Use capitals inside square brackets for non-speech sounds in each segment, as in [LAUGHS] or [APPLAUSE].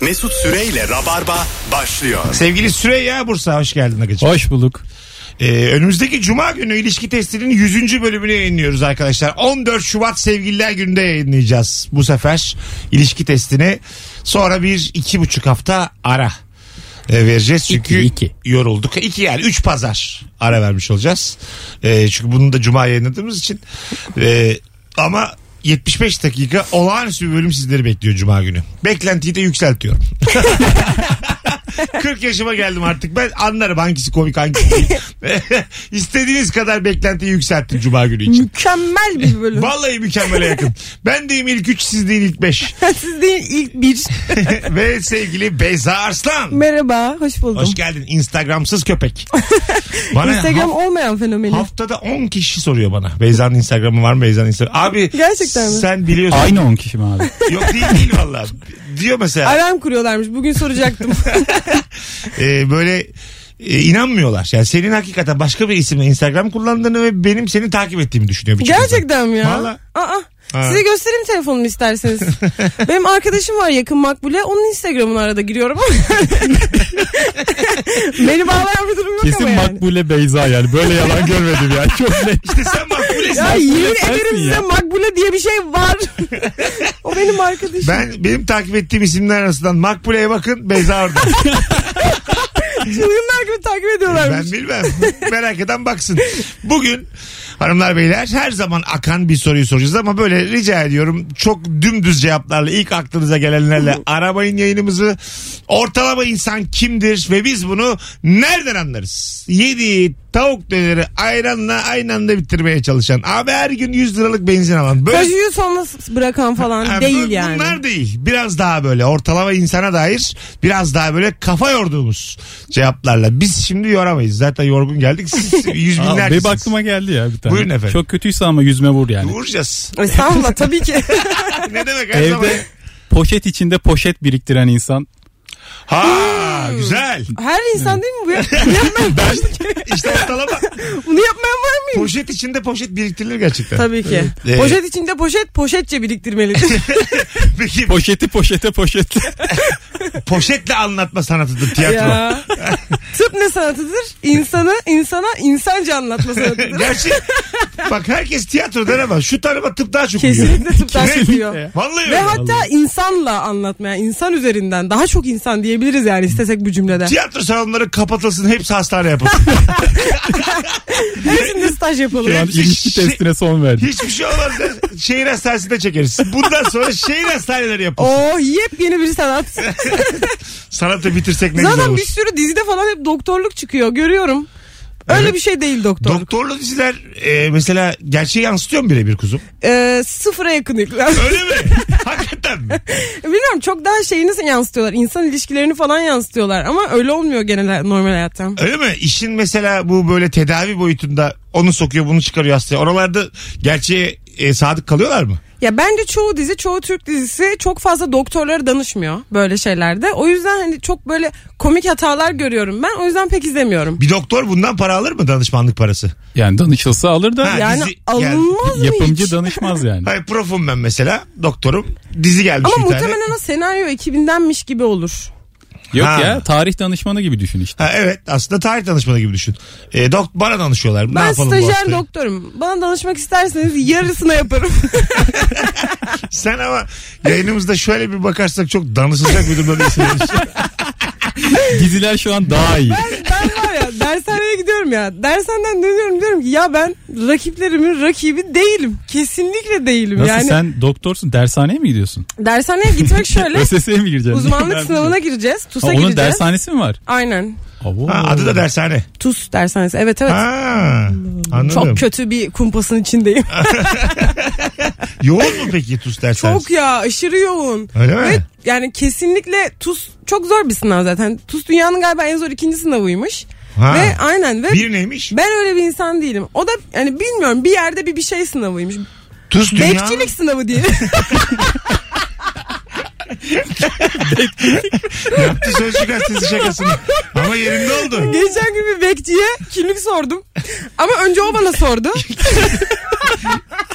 Mesut Süreyle Rabarba başlıyor. Sevgili Süreyya Bursa hoş geldin Agacığım. Hoş bulduk. Ee, önümüzdeki cuma günü ilişki testinin 100. bölümünü yayınlıyoruz arkadaşlar. 14 Şubat Sevgililer Günü'nde yayınlayacağız bu sefer ilişki testini. Sonra bir iki buçuk hafta ara e, vereceğiz. Çünkü İki, iki. yorulduk. İki yani üç pazar ara vermiş olacağız. E, çünkü bunu da cuma yayınladığımız için. E, ama 75 dakika olağanüstü bir bölüm sizleri bekliyor cuma günü. Beklentiyi de yükseltiyorum. 40 yaşıma geldim artık. Ben anlarım hangisi komik hangisi değil. [LAUGHS] İstediğiniz kadar beklentiyi yükselttim cuma günü için. Mükemmel bir bölüm. Vallahi mükemmele yakın. Ben deyim ilk 3 siz deyin ilk [LAUGHS] 5. [LAUGHS] Siz değil ilk bir. Ve sevgili Beyza Arslan. Merhaba, hoş buldum. Hoş geldin Instagramsız [LAUGHS] köpek. Bana Instagram haf- olmayan fenomeni. haftada 10 kişi soruyor bana. Beyza'nın Instagram'ı var mı? Beyza'nın Instagram. Abi Gerçekten mi? sen biliyorsun. Aynı 10 kişi mi abi? Yok [LAUGHS] değil değil valla. Diyor mesela. Alarm kuruyorlarmış. [LAUGHS] Bugün soracaktım. e, böyle e, inanmıyorlar. Yani senin hakikaten başka bir isimle Instagram kullandığını ve benim seni takip ettiğimi düşünüyor. birçok insan. Gerçekten mi ya? Valla. Aa. Ha. Size göstereyim [LAUGHS] telefonumu isterseniz. Benim arkadaşım var yakın makbule. Onun Instagram'ına arada giriyorum [LAUGHS] ama. Beni bağlayan bir durum yok Kesin ama yani. Makbule Beyza yani. [LAUGHS] Böyle yalan görmedim ya. Çok net. İşte sen makbulesin. Ya yemin sensin ederim ya. size makbule diye bir şey [LAUGHS] var. o benim arkadaşım. Ben benim takip ettiğim isimler arasından Makbule'ye bakın Beyza Arda. Çılgınlar gibi takip ben ediyorlarmış. bilmem. Merak eden baksın. Bugün hanımlar beyler her zaman akan bir soruyu soracağız ama böyle rica ediyorum çok dümdüz cevaplarla ilk aklınıza gelenlerle arabayın yayınımızı ortalama insan kimdir ve biz bunu nereden anlarız? Yediği tavuk döneri ayranla aynı anda bitirmeye çalışan abi her gün 100 liralık benzin alan böyle Kajıyı sonra bırakan falan Ha, değil bu- yani. Bunlar değil. Biraz daha böyle ortalama insana dair biraz daha böyle kafa yorduğumuz cevaplarla. Biz şimdi yoramayız. Zaten yorgun geldik. [LAUGHS] Siz yüz Aa, binler. Benim aklıma geldi ya bir tane. Buyurun efendim. Çok kötüyse ama yüzme vur yani. Vuracağız. Estağfurullah E, tabii ki. [LAUGHS] Ne demek her zaman? Evde poşet içinde poşet biriktiren insan. Ha güzel. Her insan değil mi [LAUGHS] bu ya? Bunu yapmayan, İşte ortalama bunu yapmayan var mıyım? poşet içinde poşet biriktirilir gerçekten. Tabii ki. Ee, Poşet içinde poşet, poşetçe biriktirmelidir. [LAUGHS] Peki Poşeti poşete poşetle. [LAUGHS] poşetle anlatma sanatıdır [LAUGHS] tiyatro. ya. Tıp ne sanatıdır? İnsanı insana insanca anlatma [LAUGHS] sanatıdır. Gerçi bak herkes tiyatrodan ama şu tarafa tıp daha çok uyuyor. Kesinlikle tıptan Kesinlikle. çıkıyor. Vallahi Ve öyle. hatta insanla anlatmaya, insan üzerinden daha çok insan diyebiliriz yani istesek bu cümlede. Tiyatro salonları kapatılsın hepsi hastane yapılsın. Hepsinde staj yapalım. Şu an Hepsi ilişki şey- testine son verdi. Hiçbir şey olmaz. da Şehir hastanesinde çekeriz. Bundan sonra şehir hastaneleri yapalım. Oo Oh, yepyeni bir sanat. Sanatı bitirsek ne güzel Zaten olur. bir sürü dizide falan hep doktorluk çıkıyor görüyorum. Öyle Evet. bir şey değil doktor. Doktorlu diziler e, mesela gerçeği yansıtıyor mu birebir kuzum? Ee, sıfıra yakınlıklar. Öyle mi? [LAUGHS] Hakikaten mi? Bilmiyorum çok daha şeyini yansıtıyorlar. İnsan ilişkilerini falan yansıtıyorlar. Ama öyle olmuyor genel normal hayattan. Öyle mi? İşin mesela bu böyle tedavi boyutunda onu sokuyor bunu çıkarıyor hastaya. Oralarda gerçeğe e, sadık kalıyorlar mı? Ya bence çoğu dizi, çoğu Türk dizisi çok fazla doktorlara danışmıyor böyle şeylerde. O yüzden hani çok böyle komik hatalar görüyorum ben. O yüzden pek izlemiyorum. Bir doktor bundan para alır mı danışmanlık parası? Yani danışılsa alır da Ha, yani dizi- alınmaz mı yapımcı hiç? danışmaz yani. Hayır profum ben mesela doktorum. Dizi gelmiş Ama bir tane. muhtemelen o senaryo ekibindenmiş gibi olur. Yok Ha. ya tarih danışmanı gibi düşün işte. Ha, evet aslında tarih danışmanı gibi düşün. E, dok bana danışıyorlar. ne Ben yapalım bu stajyer hastayı? doktorum. Bana danışmak isterseniz yarısına yaparım. Sen ama yayınımızda şöyle bir bakarsak çok danışılacak bir durumda değilsin. [LAUGHS] Diziler şu an daha iyi. ben var ya dershaneye gidiyorum ya. Dershaneden dönüyorum diyorum ki ya ben rakiplerimin rakibi değilim. Kesinlikle değilim. Nasıl yani sen doktorsun dershaneye mi gidiyorsun? dershaneye [LAUGHS] gitmek şöyle. ÖSS'ye mi gireceksin? uzmanlık Ben- sınavına gireceğiz. Ha, TUS'a onun gireceğiz. dershanesi mi var? Aynen. Avo. ha, adı da dershane. TUS dershanesi. Evet evet. Ha, anladım. Çok kötü bir kumpasın içindeyim. Yoğun mu peki TUS dershanesi? [LAUGHS] Çok ya aşırı yoğun. Öyle mi? Ve yani kesinlikle TUS çok zor bir sınav zaten. TUS dünyanın galiba en zor ikinci sınavıymış. Ha. Ve aynen ve Bir neymiş? ben öyle bir insan değilim. O da yani bilmiyorum bir yerde bir bir şey sınavıymış. TUS dünyanın... Bekçilik sınavı diye. Yaptı sözcük gazetesi şakasını. Ama yerinde oldu. Geçen gün bir bekçiye kimlik sordum. Ama önce o bana sordu.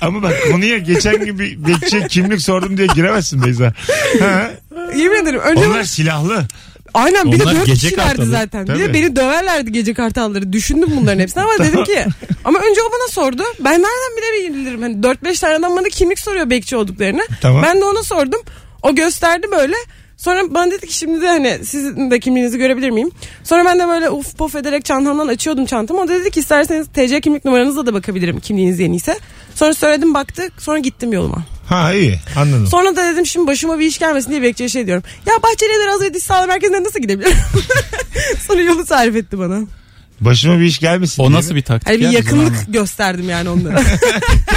Ama bak konuya geçen gün bir bekçiye kimlik sordum diye giremezsin Beyza. Ha, Yemin ederim. Önce Onlar silahlı. Aynen bir de Onlar dört gece kişilerdi kartalı. zaten. Bir Tabii. de beni döverlerdi gece kartalları. Düşündüm bunların hepsini ama [LAUGHS] dedim ki ama önce o bana sordu. Ben nereden bilebilirim? Hani 4-5 tane adam bana kimlik soruyor bekçi olduklarını. Tamam. Ben de ona sordum. O gösterdi böyle. Sonra bana dedi ki şimdi de hani sizin de kimliğinizi görebilir miyim? Sonra ben de böyle uf puf ederek çantamdan açıyordum çantamı. O da dedi ki isterseniz TC kimlik numaranızla da bakabilirim kimliğiniz yeniyse. Sonra söyledim baktı sonra gittim yoluma. Ha iyi anladım. Sonra da dedim şimdi başıma bir iş gelmesin diye bekçiye şey diyorum. Ya Bahçeli'ye de razı sağlık merkezine nasıl gidebilirim? [LAUGHS] Sonra yolu tarif etti bana. Başıma bir iş gelmesin. O diye nasıl mi? bir taktik Hani bir ya? yakınlık [LAUGHS] gösterdim yani onlara.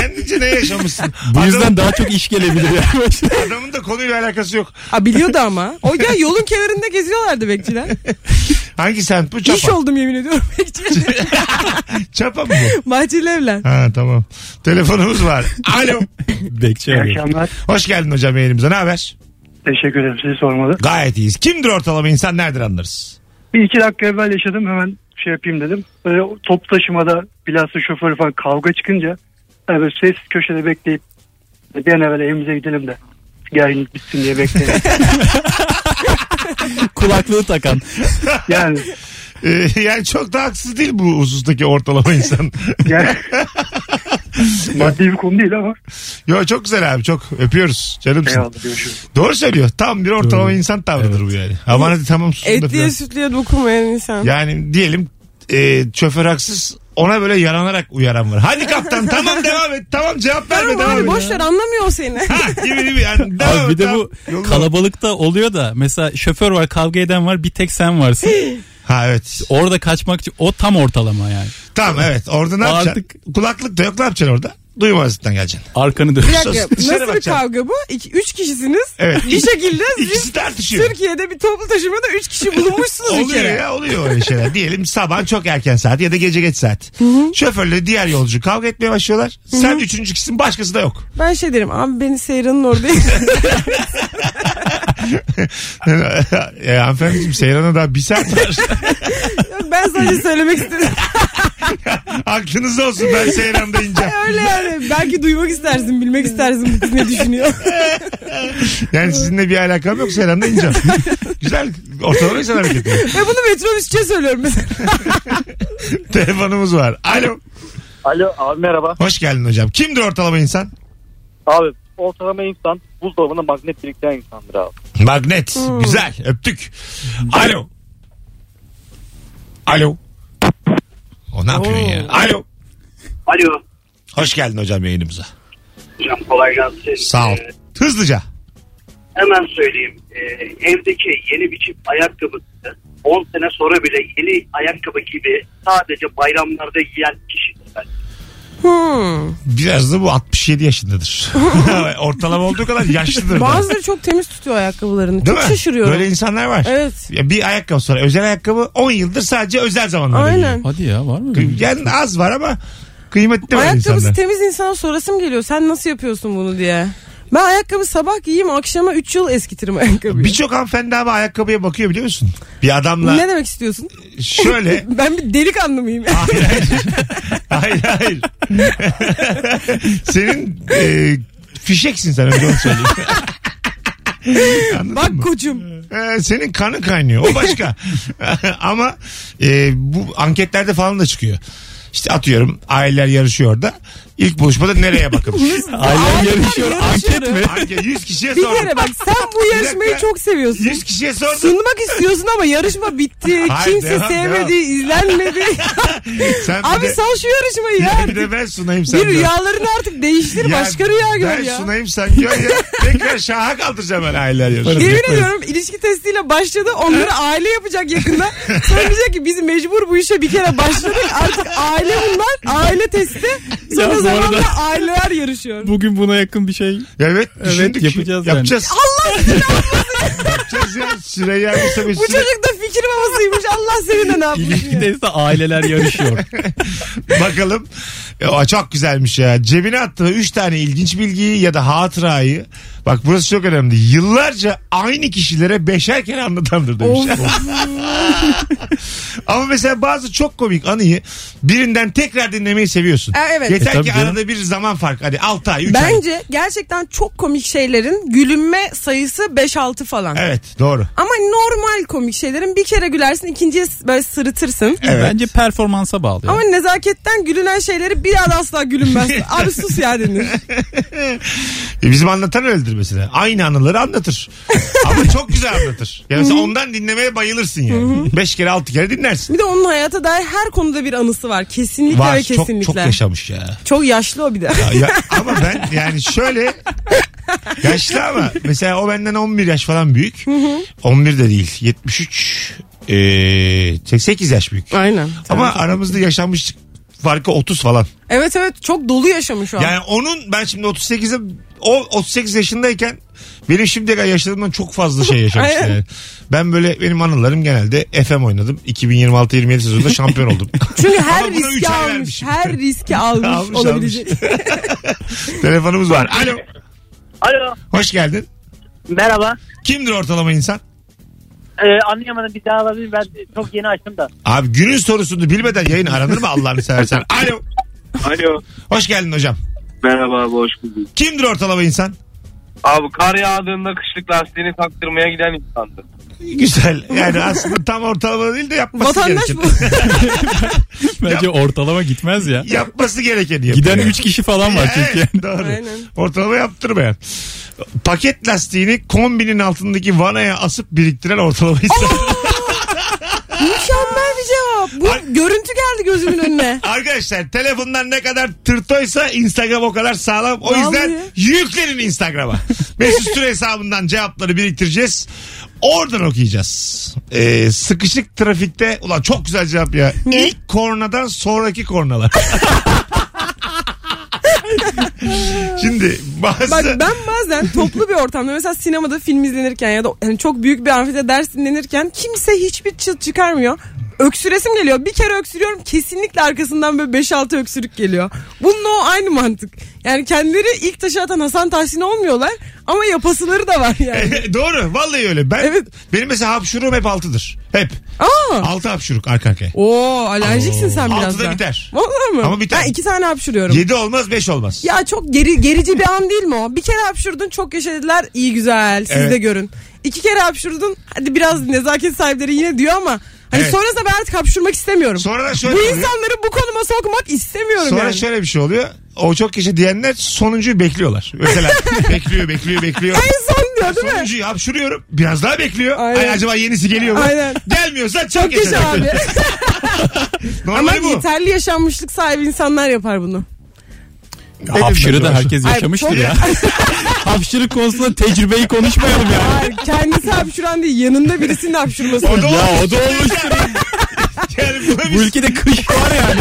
Kendince ne yaşamışsın? Bu yüzden daha çok iş gelebilir [LAUGHS] yani. Adamın, adamın da konuyla alakası yok. Aa, biliyordu ama. O ya yolun kenarında geziyorlardı bekçiler. Hangi semt bu? İş Çapa. oldum yemin ediyorum [LAUGHS] bekçilerle. Çapa mı bu? Bahçeli evlen. Ha tamam. Telefonumuz [LAUGHS] var. Alo. Bekçi İyi arıyor. akşamlar. Hoş geldin hocam yayınımıza. Ne haber? Teşekkür ederim. Sizi sormalı. Gayet iyiyiz. Kimdir ortalama insan nereden anlarız? Bir iki dakika evvel yaşadım. Hemen şey yapayım dedim. Böyle top taşımada bilhassa şoför falan kavga çıkınca yani böyle sessiz köşede bekleyip bir an evvel evimize gidelim de gerginlik bitsin diye bekledim. Kulaklığı takan. yani, Ee, [LAUGHS] yani çok da haksız değil bu husustaki ortalama [LAUGHS] insan. yani maddi bir konu değil ama. Yo çok güzel abi çok öpüyoruz canımsın. Eyvallah görüşürüz. Doğru söylüyor. Tam bir ortalama Doğru. insan tavrıdır bu yani. Aman hadi tamam susun da Etliye falan. sütlüye dokunmayan insan. Yani diyelim e, şoför haksız ona böyle yaranarak uyaran var. Hadi [LAUGHS] kaptan tamam devam et. Tamam cevap verme Tamam devam abi et. boş ver anlamıyor [LAUGHS] o seni. Ha gibi gibi yani. Devam Abi bir et, de tamam. bu Yoluna- kalabalıkta oluyor da mesela şoför var kavga eden var bir tek sen [LAUGHS] varsın. Ha evet. Orada kaçmak için o tam ortalama yani. Tamam evet. Orada ne O yapacaksın? artık- Kulaklık da yok ne yapacaksın orada? Duymazlıktan geleceksin. Arkanı dön. Bir dakika Sus, dışarı nasıl bir bakacağım. kavga bu? İki, üç kişisiniz. Evet. Bir şekilde İkisi siz tartışıyor. Türkiye'de bir toplu taşımada üç kişi bulunmuşsunuz bir Oluyor kere. ya oluyor öyle [LAUGHS] şeyler. Diyelim sabah çok erken saat ya da gece geç saat. Şoförle diğer yolcu kavga etmeye başlıyorlar. Sen üçüncü kişisin başkası da yok. [LAUGHS] Ben şey derim abi beni Seyran'ın orada e, hanımefendiciğim Seyran'a daha bir saat [LAUGHS] var. ben sadece söylemek istedim. [LAUGHS] Aklınızda olsun ben Seyran'da ineceğim. Öyle yani belki duymak istersin bilmek istersin bu kız ne düşünüyor. Yani sizinle bir alakam yok Seyran'da [LAUGHS] ineceğim. Güzel ortalama insan hareketi. Ve bunu metrobüsçe söylüyorum mesela. Telefonumuz var. Alo. Alo abi merhaba. Hoş geldin hocam. Kimdir ortalama insan? Abi ortalama insan buzdolabına magnet biriktiren insandır abi. Magnet. Hmm. Güzel. Öptük. Alo. Alo. O ne yapıyorsun ya? Alo. Alo. Hoş geldin hocam yayınımıza. Hocam kolay gelsin. Sağ ol. Ee, Hızlıca. hemen söyleyeyim. Ee, evdeki yeni biçim ayakkabısı 10 sene sonra bile yeni ayakkabı gibi sadece bayramlarda giyen kişidir. ben. Hmm. Biraz da bu 67 [LAUGHS] yaşındadır. Ortalama olduğu kadar yaşlıdır. da. Bazıları çok temiz tutuyor ayakkabılarını. Değil çok mi? şaşırıyorum. Böyle insanlar var. Evet. Ya bir ayakkabı sonra özel ayakkabı 10 yıldır sadece özel zamanlarda Aynen. [LAUGHS] Hadi ya var mı? giyiyor. Yani az var ama kıymetli şey var Ayakkabısı insanlar. temiz insana sorasım geliyor. Sen nasıl yapıyorsun bunu diye. Ben ayakkabı sabah giyeyim akşama 3 yıl eskitirim ayakkabıyı. Birçok hanımefendi ama ayakkabıya bakıyor biliyor musun? Bir adamla Ne demek istiyorsun? şöyle Ben bir delikanlı mıyım? Hayır hayır. hayır hayır. [LAUGHS] Senin e, fişeksin sen önce onu söyleyeyim. Anladın Bak mı? koçum. Ee, senin kanın kaynıyor o başka [LAUGHS] ama e, bu anketlerde falan da çıkıyor İşte atıyorum aileler yarışıyor da ilk buluşmada nereye [LAUGHS] bakılır Ailen yarışıyor. yarışıyor. Anket mi? Anket 100 kişiye Bir sordum kere bak sen bu yarışmayı dakika. çok seviyorsun. 100 kişiye sordum Sunmak istiyorsun ama yarışma bitti. Hayır, Kimse devam, [LAUGHS] sevmedi, izlenmedi. sen [LAUGHS] Abi bir de, sal şu yarışmayı ya. [LAUGHS] bir de ben sunayım sen Bir gör. rüyalarını artık değiştir Ya başka rüya gör Ben ya. sunayım sen gör ya [LAUGHS] tekrar şaha kaldıracağım ben aileler yarışıyor Yemin ediyorum ilişki testiyle başladı onları aile yapacak yakında. Sonra diyecek ki biz mecbur bu işe bir kere başladık artık aile bunlar aile testi. Ya Sonra bu zamanla arada- aileler yarışıyor. Bugün buna yakın bir şey. Evet, Evet, düşündük. yapacağız yani. yapacağız. Allah yapacağız ya. Süreyya Musa Bu [LAUGHS] Mesut'u çocukta fikir fikir babasıymış. Allah seni de ne yapmış. [LAUGHS] ya. İlişkideyse aileler [LAUGHS] yarışıyor. Bakalım. Ya, çok güzelmiş ya. Cebine attığı 3 tane ilginç bilgiyi ya da hatırayı. Bak burası çok önemli. Yıllarca aynı kişilere beşer kere anlatandır demiş. [LAUGHS] Ama mesela bazı çok komik anıyı birinden tekrar dinlemeyi seviyorsun. E, evet. Yeter E, tabii ki canım. arada bir zaman farkı. Hadi 6 ay 3 ay. Bence gerçekten çok komik şeylerin gülünme sayısı 5-6 falan. Evet doğru. Ama normal komik şeylerin bir kere gülersin ikinciye böyle sırıtırsın. Bence performansa bağlı. ya. Ama nezaketten gülünen şeyleri bir daha da [LAUGHS] asla gülünmez. Abi sus ya denir. E, bizim anlatan öyledir mesela. Aynı anıları anlatır. [LAUGHS] Ama çok güzel anlatır. Yani mesela ondan dinlemeye bayılırsın yani. 5 kere 6 kere dinlersin. Bir de onun hayata dair her konuda bir anısı var. Kesinlikle ve Var çok, kesinlikle. çok yaşamış ya. Çok yaşlı o [LAUGHS] bir de. Ya, ama ben yani şöyle yaşlı ama mesela o benden 11 yaş falan büyük. 11 de değil 73 eee 88 yaş büyük. Aynen. Ama aramızda yaşanmışlık farkı 30 falan. Evet evet çok dolu yaşamış o an. Yani onun ben şimdi 38'e o 38 yaşındayken benim şimdiye kadar yaşadığımdan çok fazla şey yaşamıştı [LAUGHS] Aynen. yani. Ben böyle benim anılarım genelde FM oynadım. 2026-27 sezonunda şampiyon oldum. Çünkü Ama her buna üç riski ay almış. vermişim. Her [LAUGHS] riski almış, Almış, [LAUGHS] olabilecek. Telefonumuz var. Alo. Alo Hoş geldin. merhaba. Ee, Kimdir ortalama insan? anlayamadım bir daha alabilir ben çok yeni açtım da. Abi günün sorusunu bilmeden yayın aranır mı Allah'ını [LAUGHS] seversen? Alo. Alo Hoş geldin hocam. merhaba hoş bulduk. Kimdir ortalama insan? Abi kar yağdığında kışlık lastiğini taktırmaya giden insandı. Güzel. Yani aslında tam ortalama değil de yapması Vatandaş gereken. bu. [LAUGHS] Bence ortalama gitmez [LAUGHS] ya. Yapması gerekeni yapıyor. Giden 3 kişi falan var çünkü. Evet, doğru. Aynen. Ortalama yaptırmayan. Paket lastiğini kombinin altındaki vanaya asıp biriktiren ortalama insan. [LAUGHS] Mükemmel bir cevap. Bu Ay- görüntü geldi gözümün önüne. [LAUGHS] Arkadaşlar telefondan ne kadar tırtoysa Instagram o kadar sağlam. O Vallahi. yüzden yüklenin [LAUGHS] Instagram'a. Mesut Süre hesabından cevapları biriktireceğiz. Oradan okuyacağız. Ee, sıkışık trafikte ulan çok güzel cevap ya. İlk kornadan sonraki [LAUGHS] kornalar. Şimdi bazı Bak ben bazen toplu bir ortamda mesela sinemada film izlenirken ya da hani çok büyük bir amfide ders dinlenirken kimse hiçbir çıt çıkarmıyor. Öksüresim geliyor. Bir kere öksürüyorum kesinlikle arkasından böyle 5-6 öksürük geliyor. Bununla o aynı mantık. Yani kendileri ilk taşı atan Hasan Tahsin olmuyorlar ama yapasıları da var [LAUGHS] yani. Doğru vallahi öyle. Ben Evet. benim mesela hapşuruğum hep altıdır. Hep. Aa. Altı hapşuruk arka arkaya. Oo alerjiksin sen Altıda biraz da. biter. Vallahi mi? Ama biter. Ben iki tane hapşırıyorum. Yedi olmaz beş olmaz. Ya çok geri gerici bir an değil mi o? Bir kere hapşurdun çok yaşadılar iyi güzel siz Evet. de görün. İki kere hapşurdun hadi biraz nezaket sahipleri yine diyor ama hani Evet. sonrasında ben artık hapşurmak istemiyorum. Sonra da şöyle bu oluyor. insanları bu konuma sokmak istemiyorum Sonra yani. şöyle bir şey oluyor. O çok kişi diyenler sonuncuyu bekliyorlar. [LAUGHS] Mesela bekliyor bekliyor bekliyor. En son diyor değil mi? Sonuncuyu hapşuruyorum. Biraz daha bekliyor. Aynen. Ay, acaba yenisi geliyor mu? Aynen. Gelmiyorsa çok, Çok yaşa abi. [LAUGHS] Ama Normali bu. yeterli yaşanmışlık sahibi insanlar yapar bunu. Hapşırı da herkes Ay, yaşamıştır çok- [LAUGHS] ya. Hapşırı konusunda tecrübeyi konuşmayalım ya. Hayır, kendisi hapşuran değil yanında birisinin hapşurması. O da Ya o olmuş. da olmuştur. [LAUGHS] Yani buna Bu biz ülkede kış var yani.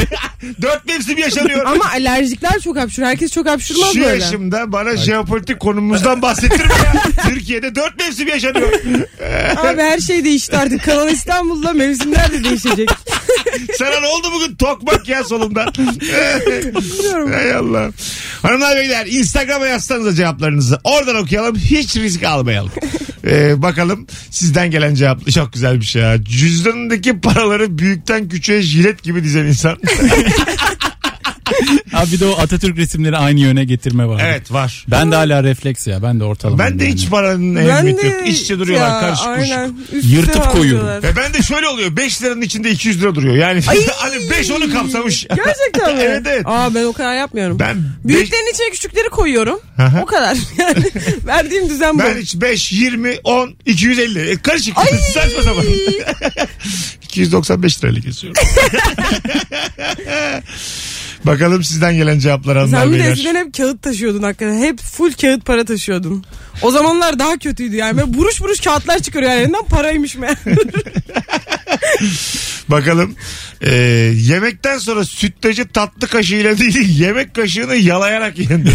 dört mevsim yaşanıyor. Ama alerjikler çok hapşur. Herkes çok hapşurmaz Şu böyle. yaşımda bana jeopolitik konumumuzdan bahsettirme [LAUGHS] ya. Türkiye'de dört mevsim yaşanıyor. Abi her şey değişti artık. Kanal İstanbul'da mevsimler de değişecek. Sana ne oldu bugün? Tokmak ya [LAUGHS] solumdan. Bilmiyorum. Hay Allah. Hanımlar beyler Instagram'a yazsanıza cevaplarınızı. Oradan okuyalım. Hiç risk [LAUGHS] almayalım. Ee, bakalım sizden gelen cevap çok güzel bir şey. Ha. Cüzdanındaki paraları büyükten küçüğe jilet gibi dizen [LAUGHS] insan. [LAUGHS] Abi bir de o Atatürk resimleri aynı yöne getirme var. evet var. Ben de hala refleks ya. Ben de ortalama. Ben de yani. hiç paranın Ben ehemmiyeti yok. İşçe duruyorlar ya, karışık aynen. kuşuk. Üstüne Yırtıp [LAUGHS] koyuyorum. alıyorlar. Ve ben de şöyle oluyor. 5 liranın içinde 200 lira duruyor. Yani [LAUGHS] hani 5 onu kapsamış. Gerçekten [LAUGHS] mi? evet evet. Aa ben o kadar yapmıyorum. Ben beş- Büyüklerin içine küçükleri koyuyorum. Aha. o kadar. [LAUGHS] Yani verdiğim düzen bu. [LAUGHS] Ben hiç 5, 20, 10, 250. E, karışık. [LAUGHS] Saçma sapan. 295 lirayla kesiyorum. Bakalım sizden gelen cevaplar hanımlar Sen bir de beyler. eskiden hep kağıt taşıyordun hakikaten. Hep full kağıt para taşıyordun. O zamanlar daha kötüydü yani. Böyle buruş buruş kağıtlar çıkarıyor her yerinden paraymış mı? Bakalım. Ee, yemekten sonra sütlacı tatlı kaşığıyla değil [LAUGHS] yemek kaşığını yalayarak yendi.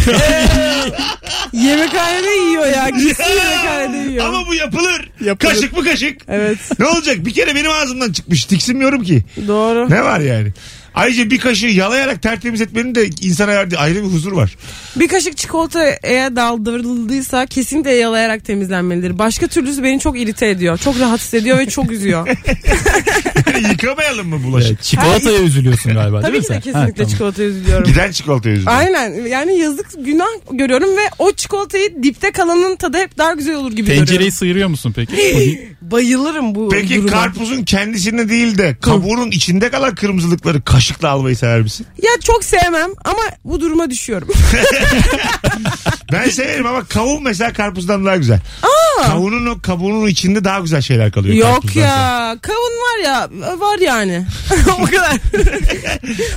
[LAUGHS] Yemekhanede yiyor [LAUGHS] ya. Gitsin yemekhanede yiyor. Ama bu yapılır. Yapılır. Kaşık mı kaşık? Evet Ne olacak? Bir kere benim ağzımdan çıkmış. Tiksinmiyorum ki. doğru. Ne var yani? Ayrıca bir kaşığı yalayarak tertemiz etmenin de insana verdiği ayrı bir huzur var. [LAUGHS] Bir kaşık çikolataya daldırıldıysa kesinlikle yalayarak temizlenmelidir. Başka türlüsü beni çok irite ediyor. Çok rahatsız ediyor ve çok üzüyor. Yani yıkamayalım mı bulaşık? Çikolataya üzülüyorsun galiba [LAUGHS] Tabii değil ki mi sen? de kesinlikle Ha, tamam. [LAUGHS] çikolataya üzülüyorum. Giden çikolata yüzünden. Aynen yani yazık günah görüyorum ve o çikolatayı dipte kalanın tadı hep daha güzel olur gibi Tencereyi görüyorum. sıyırıyor musun [LAUGHS] peki? Bayılırım bu Peki duruma. karpuzun kendisinde değil de kabuğunun içinde kalan kırmızılıkları kaşıkla almayı sever misin? Ya çok sevmem ama bu duruma düşüyorum. Ben severim ama kavun mesela karpuzdan daha güzel. Kavunun o kabuğunun içinde daha güzel şeyler kalıyor. Yok karpuzdan sonra. ya. Kavun var ya. Var yani. [LAUGHS] [LAUGHS] o kadar.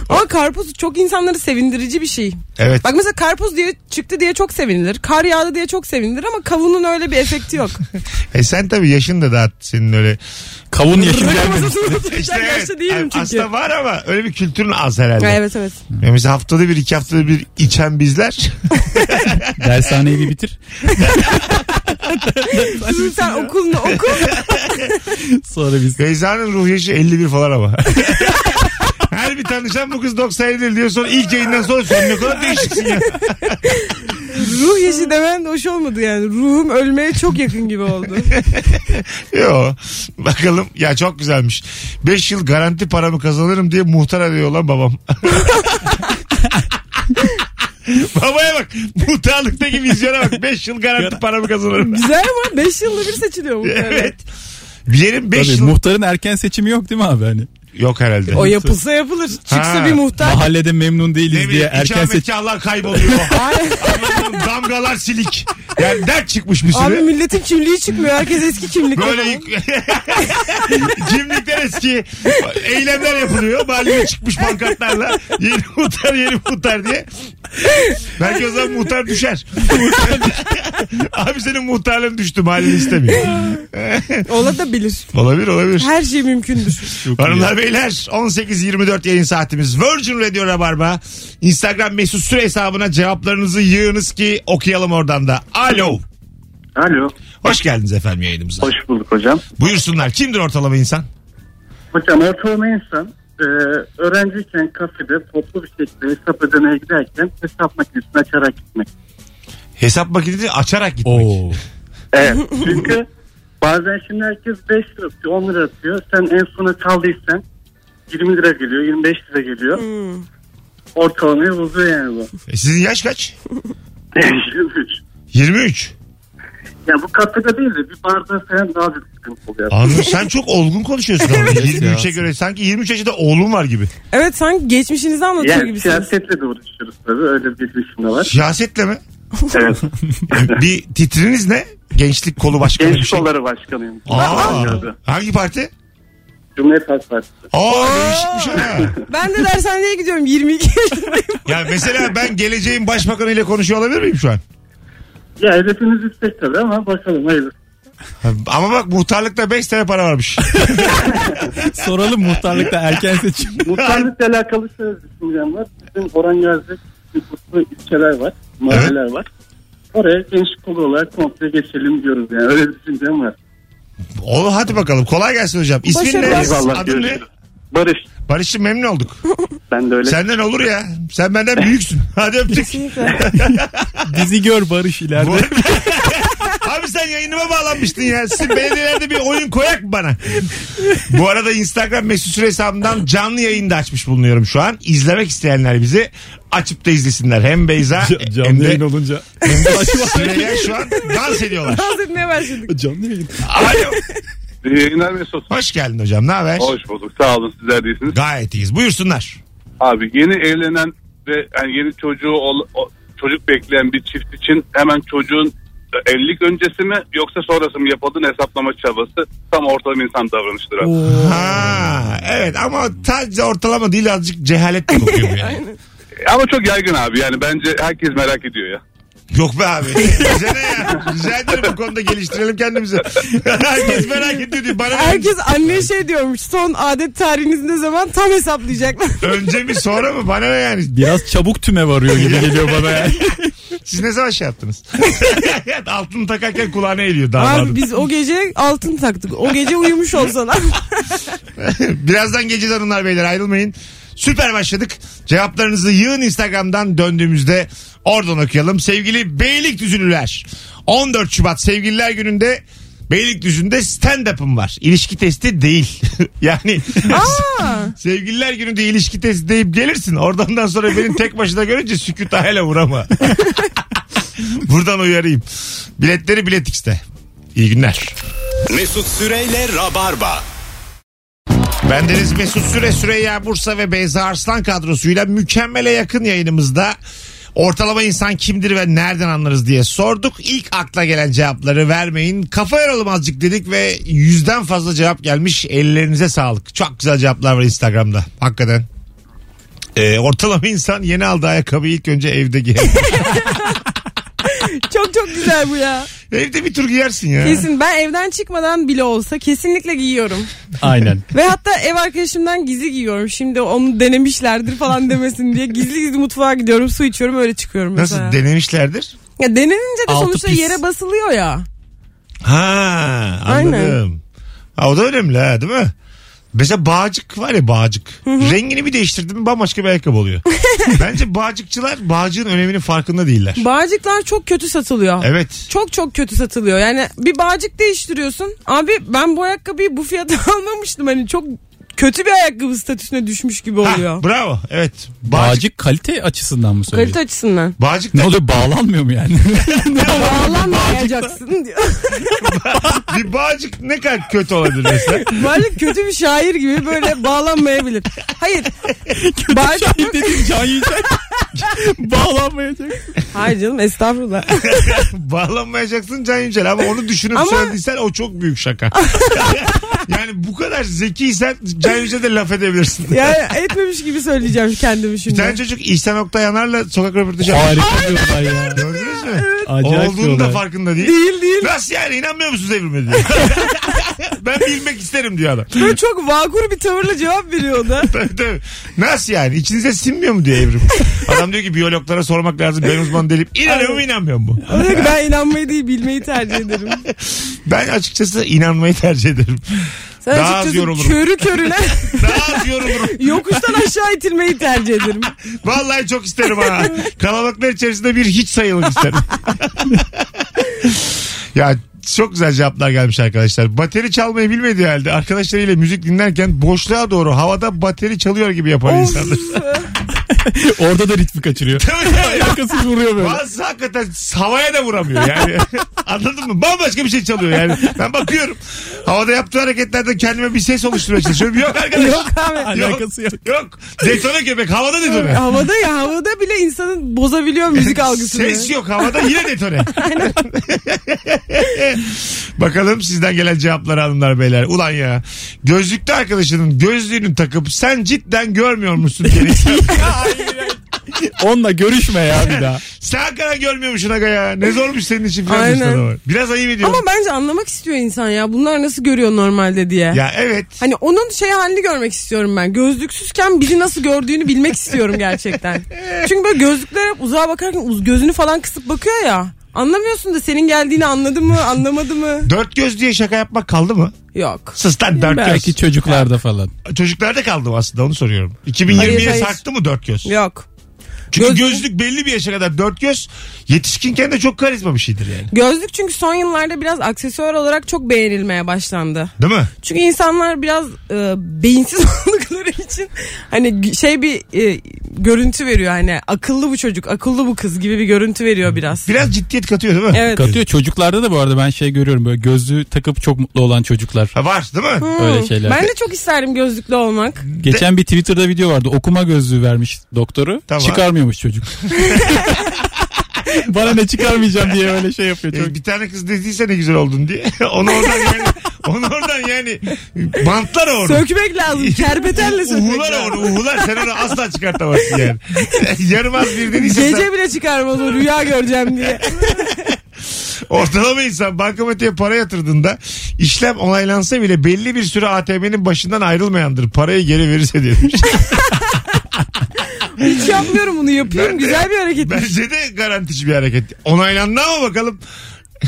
Ama karpuz çok insanları sevindirici bir şey. Evet. Bak mesela karpuz diye çıktı diye çok sevinilir. Kar yağdı diye çok sevinilir ama kavunun öyle bir [LAUGHS] efekti yok. E sen tabii yaşın da daha senin [LAUGHS] öyle. Kavun yaşım Rakı gelmedi. masasına oturacak yaşta değilim çünkü. Aslında var ama öyle bir kültürün az herhalde. Ha, evet evet. Ya mesela haftada bir iki haftada bir içen bizler. [LAUGHS] Dershaneyi bir bitir. Sizin sen şey [LAUGHS] okulunu oku. Sonra biz. Beyza'nın ruh yaşı 51 falan ama. [LAUGHS] Her bir tanışan bu kız 97 diyor sonra ilk yayından sonra sen ne kadar değişiksin ya. Ruh yaşı demen de hoş olmadı yani. Ruhum ölmeye çok yakın gibi oldu. Yo. Bakalım ya çok güzelmiş. 5 yıl garanti paramı kazanırım diye muhtar arıyor lan babam. [LAUGHS] Babaya bak. Muhtarlıktaki vizyona bak. 5 yıl garanti paramı kazanırım. Güzel ama 5 yılda bir seçiliyor bu. evet. [LAUGHS] Bir yerin 5 Tabii yıl muhtarın erken seçimi yok değil mi abi? Hani yok herhalde. O yapılsa yapılır. Çıksa Ha. bir muhtar. mahallede memnun Ne değiliz diye bileyim erken seçim. ikametgahlar kayboluyor. Ay, Anladın mı? Damgalar silik. Yani dert çıkmış bir sürü. Abi milletin kimliği çıkmıyor. Herkes eski kimlik. o Böyle zaman. [LAUGHS] kimlikler eski eylemler yapılıyor. Mahalleye çıkmış pankartlarla yeni muhtar yeni muhtar diye. Belki o zaman muhtar [LAUGHS] düşer. Abi senin muhtarlığın düştü mahalleni istemiyor. Olabilir. Olabilir olabilir. Her şey mümkündür. Hanımlar beyler 18.24 yayın saatimiz Virgin Radio Rabarba. Instagram mesut süre hesabına cevaplarınızı yığınız ki okuyalım oradan da. Alo. Alo. Hoş geldiniz efendim yayınımıza. Hoş bulduk hocam. Buyursunlar. Kimdir ortalama insan? Hocam ortalama insan e, öğrenciyken kafede toplu bir şekilde hesap ödemeye giderken hesap makinesini açarak gitmek. Hesap makinesi açarak gitmek. Oo. [LAUGHS] Evet. [LAUGHS] Çünkü bazen şimdi herkes 5 lira atıyor, 10 lira atıyor. Sen en sona kaldıysan 20 lira geliyor, 25 lira geliyor. Ortalamayı bozuyor yani bu. E Sizin yaş kaç? Değişiyormuş. 23. [LAUGHS] yani bu kafede değil de bir barda falan daha büyük sıkıntı oluyor. Anladım. Sen çok olgun konuşuyorsun. ama Evet 23'e ya. göre sanki 23 yaşında oğlum var gibi. Evet sanki geçmişinizi anlatıyor Yani gibisiniz. siyasetle de uğraşıyoruz tabii. Öyle bir bilişim de var. Siyasetle mi? [LAUGHS] Evet. bir titriniz ne? Gençlik kolu başkanı bir Genç şey. kolları başkanıyım. Aa, Ankara'da. hangi parti? Cumhuriyet Halk Partisi. Aa değişikmiş ha. Ben de dershaneye gidiyorum 22 yaşındayım. Ya mesela ben geleceğin başbakanı ile konuşuyor olabilir miyim şu an? Ya hedefimiz yüksek tabii ama bakalım hayırlısı. Ha, Ama bak muhtarlıkta 5 tane para varmış. Soralım muhtarlıkta erken seçim. Muhtarlıkla alakalı şöyle düşüncem var. Bizim Orhan Gazi bir kutlu ilçeler var, mahalleler var. Oraya genç kolu olarak komple geçelim diyoruz yani. Öyle bir düşüncem var. Oğlum hadi bakalım. Kolay gelsin hocam. İsmin ne? Başarılar. Adın ne? görüşürüz. Barış. Barış'cığım memnun olduk. Ben de öyle. Senden olur ya. Sen benden büyüksün. Hadi öptük. Kesinlikle. Bizi gör Barış ileride. Abi sen yayınıma bağlanmıştın ya. Sizin belediyelerde bir oyun koyak mı bana? Bu arada Instagram mesut süre hesabından canlı yayında açmış bulunuyorum şu an. İzlemek isteyenler bizi açıp da izlesinler. Hem Beyza Ca- hem canlı de yayın olunca. Süreyya şu an dans ediyorlar. Dans etmeye başladık. canlı yayın. Alo. İyi yayınlar Mesut. Hoş geldin hocam. Ne haber? Hoş bulduk. Sağ olun sizler değilsiniz. Gayet iyiyiz. Buyursunlar. Abi yeni evlenen ve yani yeni çocuğu ol- o- çocuk bekleyen bir çift için hemen çocuğun evlilik öncesi mi yoksa sonrası mı yapıldığını hesaplama çabası tam ortalama insan davranışları. Ha, evet ama sadece ortalama değil azıcık cehalet de kokuyor yani. Ama çok yaygın abi yani bence herkes merak ediyor ya. Yok be abi. Bize ne ya? Rica ederim bu konuda geliştirelim kendimizi. [LAUGHS] Herkes merak ediyor diyor. Bana Herkes anne şey diyormuş. Son adet tarihiniz ne zaman tam hesaplayacaklar. önce mi sonra mı? Bana ne yani? Biraz çabuk tüme varıyor gibi geliyor [LAUGHS] bana yani. Siz ne zaman şey yaptınız? [LAUGHS] Altını takarken kulağına eğiliyor damadım. Abi biz o gece altın taktık. O gece uyumuş olsalar. [LAUGHS] Birazdan gece hanımlar beyler ayrılmayın. Süper başladık. Cevaplarınızı yığın Instagram'dan döndüğümüzde oradan okuyalım. Sevgili Beylikdüzülüler. 14 Şubat Sevgililer Günü'nde Beylikdüzü'nde stand-up'ım var. İlişki testi değil. [LAUGHS] yani Aa, [LAUGHS] sevgililer gününde ilişki testi deyip gelirsin. Oradan sonra benim tek başına görünce sükut hele vurama. [LAUGHS] Buradan uyarayım. Biletleri Bilet X'te. İyi günler. Mesut Süreyle Rabarba. Bendeniz Mesut Süre Süreyya Bursa ve Beyza Arslan kadrosuyla mükemmele yakın yayınımızda ortalama insan kimdir ve nereden anlarız diye sorduk. İlk akla gelen cevapları vermeyin. Kafa yoralım azıcık dedik ve yüzden fazla cevap gelmiş. Ellerinize sağlık. Çok güzel cevaplar var Instagram'da. Hakikaten. Ee, ortalama insan yeni aldığı ayakkabıyı ilk önce evde giyer. çok çok güzel bu ya. evde bir tur giyersin ya. Kesin ben evden çıkmadan bile olsa kesinlikle giyiyorum. Aynen. Ve hatta ev arkadaşımdan gizli giyiyorum. Şimdi onu denemişlerdir falan demesin diye. Gizli gizli mutfağa gidiyorum su içiyorum öyle çıkıyorum Nasıl mesela. denemişlerdir? ya denenince de Altı sonuçta pis. yere basılıyor ya. Ha Aynen. anladım. Ha, o da önemli ha değil mi? Mesela bağcık var ya bağcık. Rengini bir değiştirdim bambaşka bir ayakkabı [LAUGHS] oluyor. Bence bağcıkçılar bağcığın öneminin farkında değiller. Bağcıklar çok kötü satılıyor. evet. Çok çok kötü satılıyor. Yani bir bağcık değiştiriyorsun. Abi ben bu ayakkabıyı bu fiyata [LAUGHS] almamıştım. Hani çok kötü bir ayakkabı statüsüne düşmüş gibi Ha, oluyor. bravo. Evet. Bağcık. Bağcık kalite açısından mı söylüyorsun? Kalite açısından. Bağcık Ne da oluyor bağlanmıyor mu yani? [LAUGHS] Bağlanmayacaksın diyor. [LAUGHS] bir bağcık ne kadar kötü olabilir [LAUGHS] mesela. Bağcık kötü bir şair gibi böyle bağlanmayabilir. Hayır. Bağcık yok. Dedim can yiyecek. Bağlanmayacak. Hayır canım estağfurullah. Bağlanmayacaksın Can Yücel ama onu düşünüp Ama- söylediysen o çok büyük [LAUGHS] şaka. yani bu kadar zekiysen Can Yücel'e de laf edebilirsin. Yani etmemiş gibi söyleyeceğim kendimi Bir şimdi. tane çocuk İhsan Oktay Yanar'la sokak röportajı yapmış. Harika diyorlar ya. Gördünüz mü? Acayip Olduğunun da diyorlar. farkında değil. Değil değil. Nasıl yani inanmıyor musunuz evrime diyor. [LAUGHS] ben bilmek isterim diyor adam. [LAUGHS] Böyle çok vakur bir tavırla cevap veriyor o da. Tabii, tabii. Nasıl yani içinize sinmiyor mu diyor evrim. Adam diyor ki biyologlara sormak lazım ben uzman değilim. İnanıyor mu inanmıyor mu? O diyor ki ben inanmayı değil bilmeyi tercih ederim. Ben açıkçası inanmayı tercih ederim. Sen Daha az açıkçası yorulurum. körü körüne Daha az yorulurum. [LAUGHS] yokuştan aşağı itilmeyi tercih [LAUGHS] ederim. Vallahi çok isterim [LAUGHS] ha. Kalabalıklar içerisinde bir hiç sayılmak isterim. ya çok güzel cevaplar gelmiş arkadaşlar. Bateri çalmayı bilmediği halde arkadaşlarıyla müzik dinlerken boşluğa doğru havada bateri çalıyor gibi yapar [LAUGHS] insanlar. Orada da ritmi kaçırıyor. Arkası vuruyor böyle. Bazısı hakikaten havaya da vuramıyor yani. [LAUGHS] Anladın mı? Bambaşka bir şey çalıyor yani. Ben bakıyorum. Havada yaptığı hareketlerden kendime bir ses oluşturmaya çalışıyorum. Yok arkadaş. Yok. Abi, Alakası yok. Yok. Detone köpek. Havada detone. havada ya havada bile insanın bozabiliyor müzik algısını. Ses yok havada yine [LAUGHS] detone. [LAUGHS] Bakalım sizden gelen cevapları hanımlar beyler. Ulan ya gözlüklü arkadaşının gözlüğünü takıp sen cidden görmüyor [LAUGHS] musun diye. Onunla görüşme ya bir daha. sen hakikaten görmüyormuşsun aga ya. Ne zormuş senin için falan. demiş Aynen. adama. Biraz ayıp ediyorum. Ama bence anlamak istiyor insan ya. Bunlar nasıl görüyor normalde diye. Ya evet. Hani onun şey halini görmek istiyorum ben. Gözlüksüzken bizi nasıl gördüğünü bilmek istiyorum [LAUGHS] gerçekten. Çünkü böyle gözlüklere hep uzağa bakarken uz- gözünü falan kısıp bakıyor ya. Anlamıyorsun da senin geldiğini anladı mı [LAUGHS] anlamadı mı? Dört göz diye şaka yapmak kaldı mı? Yok. Sus lan dört Belki göz. çocuklarda falan. Çocuklarda kaldı mı aslında onu soruyorum. 2020'ye Hayır, hayır. sarktı mı dört göz? Yok. Çünkü Gözlük- gözlük belli bir yaşa kadar dört göz yetişkinken de çok karizma bir şeydir yani. Gözlük çünkü son yıllarda biraz aksesuar olarak çok beğenilmeye başlandı. Değil mi? Çünkü insanlar biraz e, beyinsiz [LAUGHS] oldukları için hani gü- şey bir e, görüntü veriyor hani akıllı bu çocuk akıllı bu kız gibi bir görüntü veriyor biraz. Biraz ciddiyet katıyor değil mi? Evet. Katıyor çocuklarda da bu arada ben şey görüyorum böyle gözlüğü takıp çok mutlu olan çocuklar. Ha, var değil mi? Öyle şeyler. Hmm. Ben de çok isterdim [LAUGHS] gözlüklü olmak. Geçen bir Twitter'da video vardı. Okuma gözlüğü vermiş doktoru. Tamam. Çıkarmıyormuş çocuk. [LAUGHS] Bana ne çıkarmayacağım diye öyle şey yapıyor. Çok E, bir tane kız dediyse ne güzel oldun diye. [LAUGHS] onu oradan yani, onu oradan yani bantlar onu. Sökmek [LAUGHS] lazım. Kerpetenle sökmek [LAUGHS] Uhular lazım. onu uhular sen onu asla çıkartamazsın yani. [LAUGHS] Yarımaz bir dediyse sen- Gece bile çıkarmaz o rüya göreceğim diye. Ortalama insan bankamatiğe para yatırdığında işlem onaylansa bile belli bir süre ATM'nin başından ayrılmayandır. Parayı geri verirse demiş. [LAUGHS] Hiç yapmıyorum bunu yapıyorum. Güzel bir hareket. Bence de garantici bir hareket. Onaylandı ama bakalım.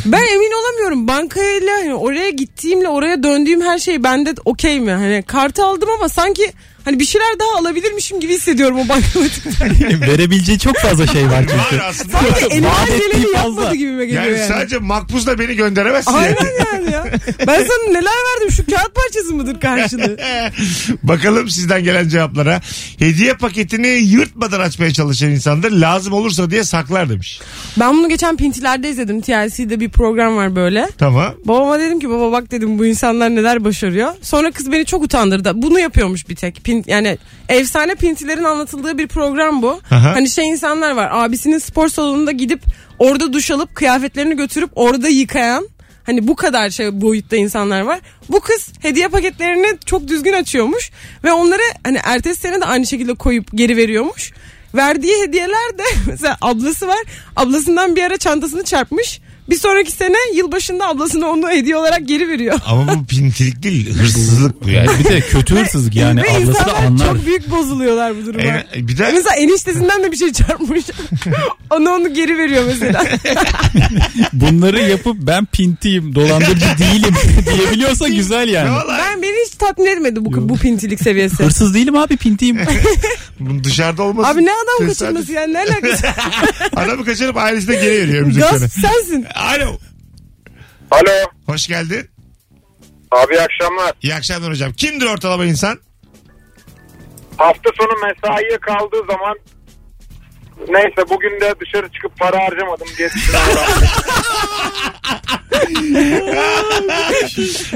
Ben emin olamıyorum. Bankayla hani oraya gittiğimle oraya döndüğüm her şey bende okey mi? Hani kartı aldım ama sanki hani bir şeyler daha alabilirmişim gibi hissediyorum o [LAUGHS] bankamatikten. Verebileceği çok fazla şey var Var çünkü. aslında. sanki elimden Vaat ettiği geleni fazla. yapmadı gibime geliyor Yani yani. sadece makbuzla beni gönderemezsin. yani. Aynen yani ya. Ben sana neler verdim şu kağıt parçası mıdır karşılığı? [LAUGHS] Bakalım sizden gelen cevaplara. Hediye paketini yırtmadan açmaya çalışan insandır. Lazım olursa diye saklar demiş. Ben bunu geçen Pintiler'de izledim. TLC'de bir program var böyle. Tamam. Babama dedim ki baba bak dedim bu insanlar neler başarıyor. Sonra kız beni çok utandırdı. Bunu yapıyormuş bir tek. Pin, yani efsane pintilerin anlatıldığı bir program bu. Aha. Hani şey insanlar var. Abisinin spor salonunda gidip orada duş alıp kıyafetlerini götürüp orada yıkayan Hani bu kadar şey boyutta insanlar var. Bu kız hediye paketlerini çok düzgün açıyormuş ve onları hani ertesi sene de aynı şekilde koyup geri veriyormuş. Verdiği hediyeler de [LAUGHS] mesela ablası var. Ablasından bir ara çantasını çarpmış. Bir sonraki sene yılbaşında ablasına onu hediye olarak geri veriyor. Ama bu [LAUGHS] pintilik değil hırsızlık bu yani. Yani bir de kötü hırsızlık [LAUGHS] yani Ve ablası da insanlar anlar. çok büyük bozuluyorlar bu duruma. E, bir de Mesela eniştesinden de bir [LAUGHS] şey çarpmış. Ona onu geri veriyor mesela. Bunları yapıp ben pintiyim [LAUGHS] dolandırıcı değilim [LAUGHS] diyebiliyorsa güzel ne yani. olay? ben beni hiç tatmin etmedi bu, bu pintilik seviyesi. Hırsız değilim abi [LAUGHS] pintiyim. Bunun dışarıda olması. Abi ne adam tesadüf. kaçırması yani ne alakası? Adamı kaçırıp ailesine geri [LAUGHS] veriyor Gasp müzikleri. sensin. Alo. Alo. Hoş geldin. Abi iyi akşamlar. İyi akşamlar hocam. Kimdir ortalama insan? Hafta sonu mesaiye kaldığı zaman neyse bugün de dışarı çıkıp para harcamadım diye düşünüyorum. [LAUGHS]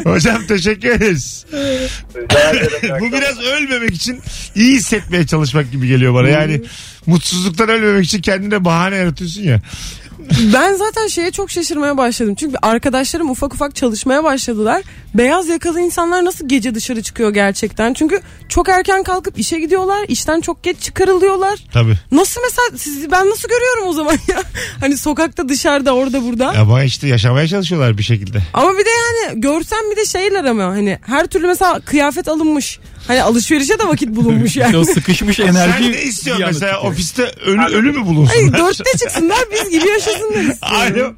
Hocam teşekkür ederiz. [LAUGHS] Bu biraz ölmemek için iyi hissetmeye çalışmak gibi geliyor bana. Yani mutsuzluktan ölmemek için kendine bahane yaratıyorsun ya. Ben zaten şeye çok şaşırmaya başladım. Çünkü arkadaşlarım ufak ufak çalışmaya başladılar. Beyaz yakalı insanlar nasıl gece dışarı çıkıyor gerçekten? Çünkü çok erken kalkıp işe gidiyorlar. işten çok geç çıkarılıyorlar. Tabii. Nasıl mesela sizi ben nasıl görüyorum o zaman ya? [LAUGHS] Hani sokakta dışarıda orada burada. Ama işte yaşamaya çalışıyorlar bir şekilde. Ama bir de yani görsem bir de şeyler ama hani her türlü mesela kıyafet alınmış. Hani alışverişe de vakit [LAUGHS] bulunmuş İşte o yani. sıkışmış enerji. Sen ne istiyorsun bir anda mesela çıkıyor. ofiste ölü, ölü mü bulunsun? Ay, dörtte çıksınlar biz gibi yaşasınlar istiyorum. [LAUGHS] Alo.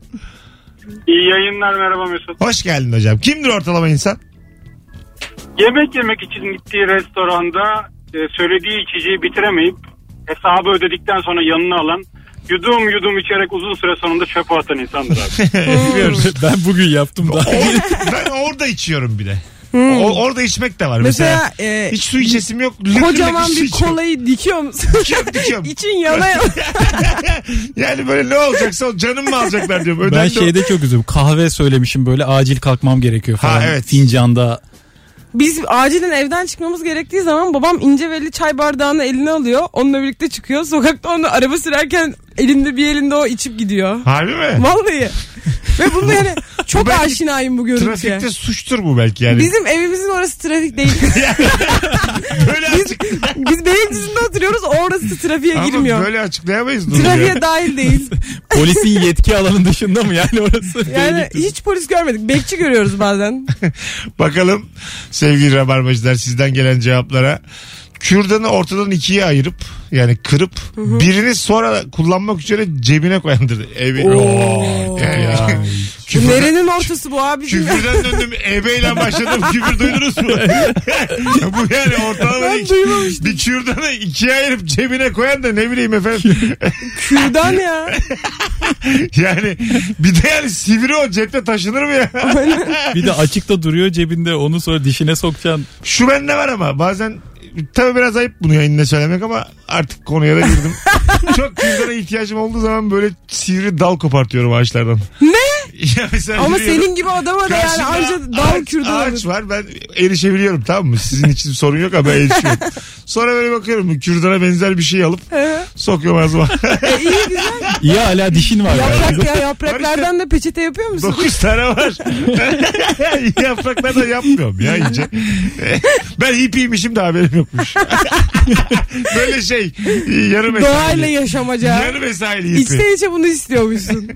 iyi yayınlar merhaba Mesut. Hoş geldin hocam. Kimdir ortalama insan? Yemek yemek için gittiği restoranda e, söylediği içeceği bitiremeyip hesabı ödedikten sonra yanına alan yudum yudum içerek uzun süre sonunda çöpe atan insandır abi. Biliyoruz. [LAUGHS] Ben bugün yaptım da. O- ben orada içiyorum bir de. O- orada içmek de var. Mesela, Hmm. Mesela, e, hiç şey su içesim yok. Lıkır Kocaman lıkır su bir içiyorum. kolayı dikiyor musun? Dikiyorum, dikiyorum. [LAUGHS] İçin yana [LAUGHS] yana. yani böyle ne olacaksa o canım mı alacaklar diyorum. Ben Ödendi o- şeyde çok üzüldüm. Kahve söylemişim böyle acil kalkmam gerekiyor falan. Ha, evet. Fincanda. Biz acilen evden çıkmamız gerektiği zaman babam ince belli çay bardağını eline alıyor. Onunla birlikte çıkıyor. Sokakta onu araba sürerken elinde bir elinde o içip gidiyor. Harbi mi? Vallahi. Ve [LAUGHS] bunda yani çok belki aşinayım bu görüntüye. Trafikte suçtur bu belki yani. Bizim evimizin orası [LAUGHS] trafik değil. böyle Biz, açık... biz Beylikdüzü'nde oturuyoruz orası trafiğe Ama girmiyor. böyle açıklayamayız. bunu ya. Trafiğe dahil değil. Polisin yetki alanı dışında mı yani orası? [LAUGHS] Yani hiç polis görmedik. Bekçi [LAUGHS] görüyoruz bazen. Bakalım sevgili rabarbacılar sizden gelen cevaplara. Kürdanı ortadan ikiye ayırıp yani kırıp birini sonra kullanmak üzere cebine koyandır. Ebe. [LAUGHS] Yani, Bu küfür- Nerenin ortası bu abicim? ya? Küfürden döndüm ebeyle başladım küfür duydunuz [LAUGHS] mu? Bu yani ortalama Ben iki- duymamıştım. bir kürdanı ikiye ayırıp cebine koyan da ne bileyim efendim. [LAUGHS] Kürdan ya. yani bir de yani sivri o cepte taşınır mı ya? [LAUGHS] Bir de açıkta duruyor cebinde onu sonra dişine sokacaksın. Şu bende var ama bazen tabii biraz ayıp bunu yayında söylemek ama artık konuya da girdim. [LAUGHS] Çok kürdana ihtiyacım olduğu zaman böyle sivri dal kopartıyorum ağaçlardan. Ne? [LAUGHS] Ya mesela Ama yürüyorum. senin gibi adama da yani Karşımda anca dal ağaç- kürdan Ağaç olur. var ben erişebiliyorum tamam mı? Sizin için sorun yok ama ben [LAUGHS] erişiyorum. Sonra böyle bakıyorum bu kürdana benzer bir şey alıp sokuyorum ağzıma. E, iyi güzel. İyi hala dişin var. [LAUGHS] yani. Yaprak ya yapraklardan da peçete yapıyor musun? 9 tane var. Yapraklardan yapmıyorum ya ince. ben ipiymişim de haberim yokmuş. [LAUGHS] Böyle şey yarı Doğayla mesaili. yaşamaca. Yarı mesaili ipi. İçten içe bunu istiyormuşsun.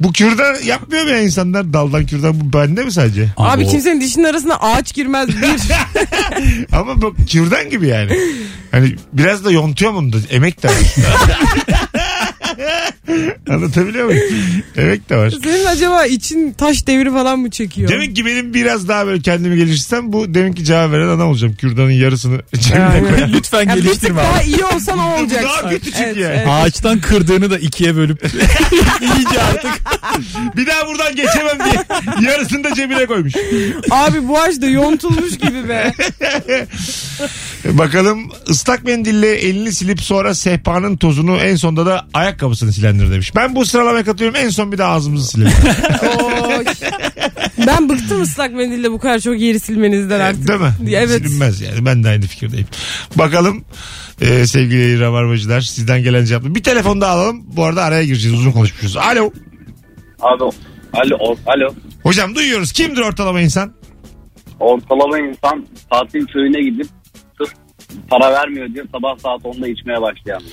Bu kürdan yapmıyor mu ya insanlar? Daldan kürdan bu bende mi sadece? Abi, o- kimsenin dişinin arasına ağaç girmez bir. [LAUGHS] Ama bu kürdan gibi yani. Hani biraz da yontuyor bunu da emek de var. [LAUGHS] Anlatabiliyor muyum? Emek de var. Senin acaba için taş devri falan mı çekiyor? Demek ki benim biraz daha böyle kendimi geliştirsem bu demek ki cevap veren adam olacağım. Kürdanın yarısını cebime Yani. koyar. [LAUGHS] Lütfen Ya bir tık geliştirme daha abi. iyi [LAUGHS] olsan o olacaksın. Daha kötü çünkü Evet, yani. evet. Ağaçtan kırdığını da ikiye bölüp [LAUGHS] iyice artık Bir daha buradan geçemem diye yarısını da cebine koymuş. Abi bu ağaç da yontulmuş gibi be. E, Bakalım ıslak mendille elini silip sonra sehpanın tozunu en sonda da ayakkabısını silendir demiş. Ben bu sıralamaya katılıyorum en son bir de ağzımızı silelim. Oy. ben bıktım ıslak mendille bu kadar çok yeri silmenizden artık. Değil mi? Evet. Silinmez yani ben de aynı fikirdeyim. Bakalım e, sevgili rabarbacılar sizden gelen cevaplar. Bir telefon daha alalım bu arada araya gireceğiz uzun konuşmuşuz. Alo Abi alo, alo. hocam duyuyoruz kimdir ortalama insan? Ortalama insan tatil köyüne gidip sırf para vermiyor diye sabah saat 10'da içmeye başlayanmış.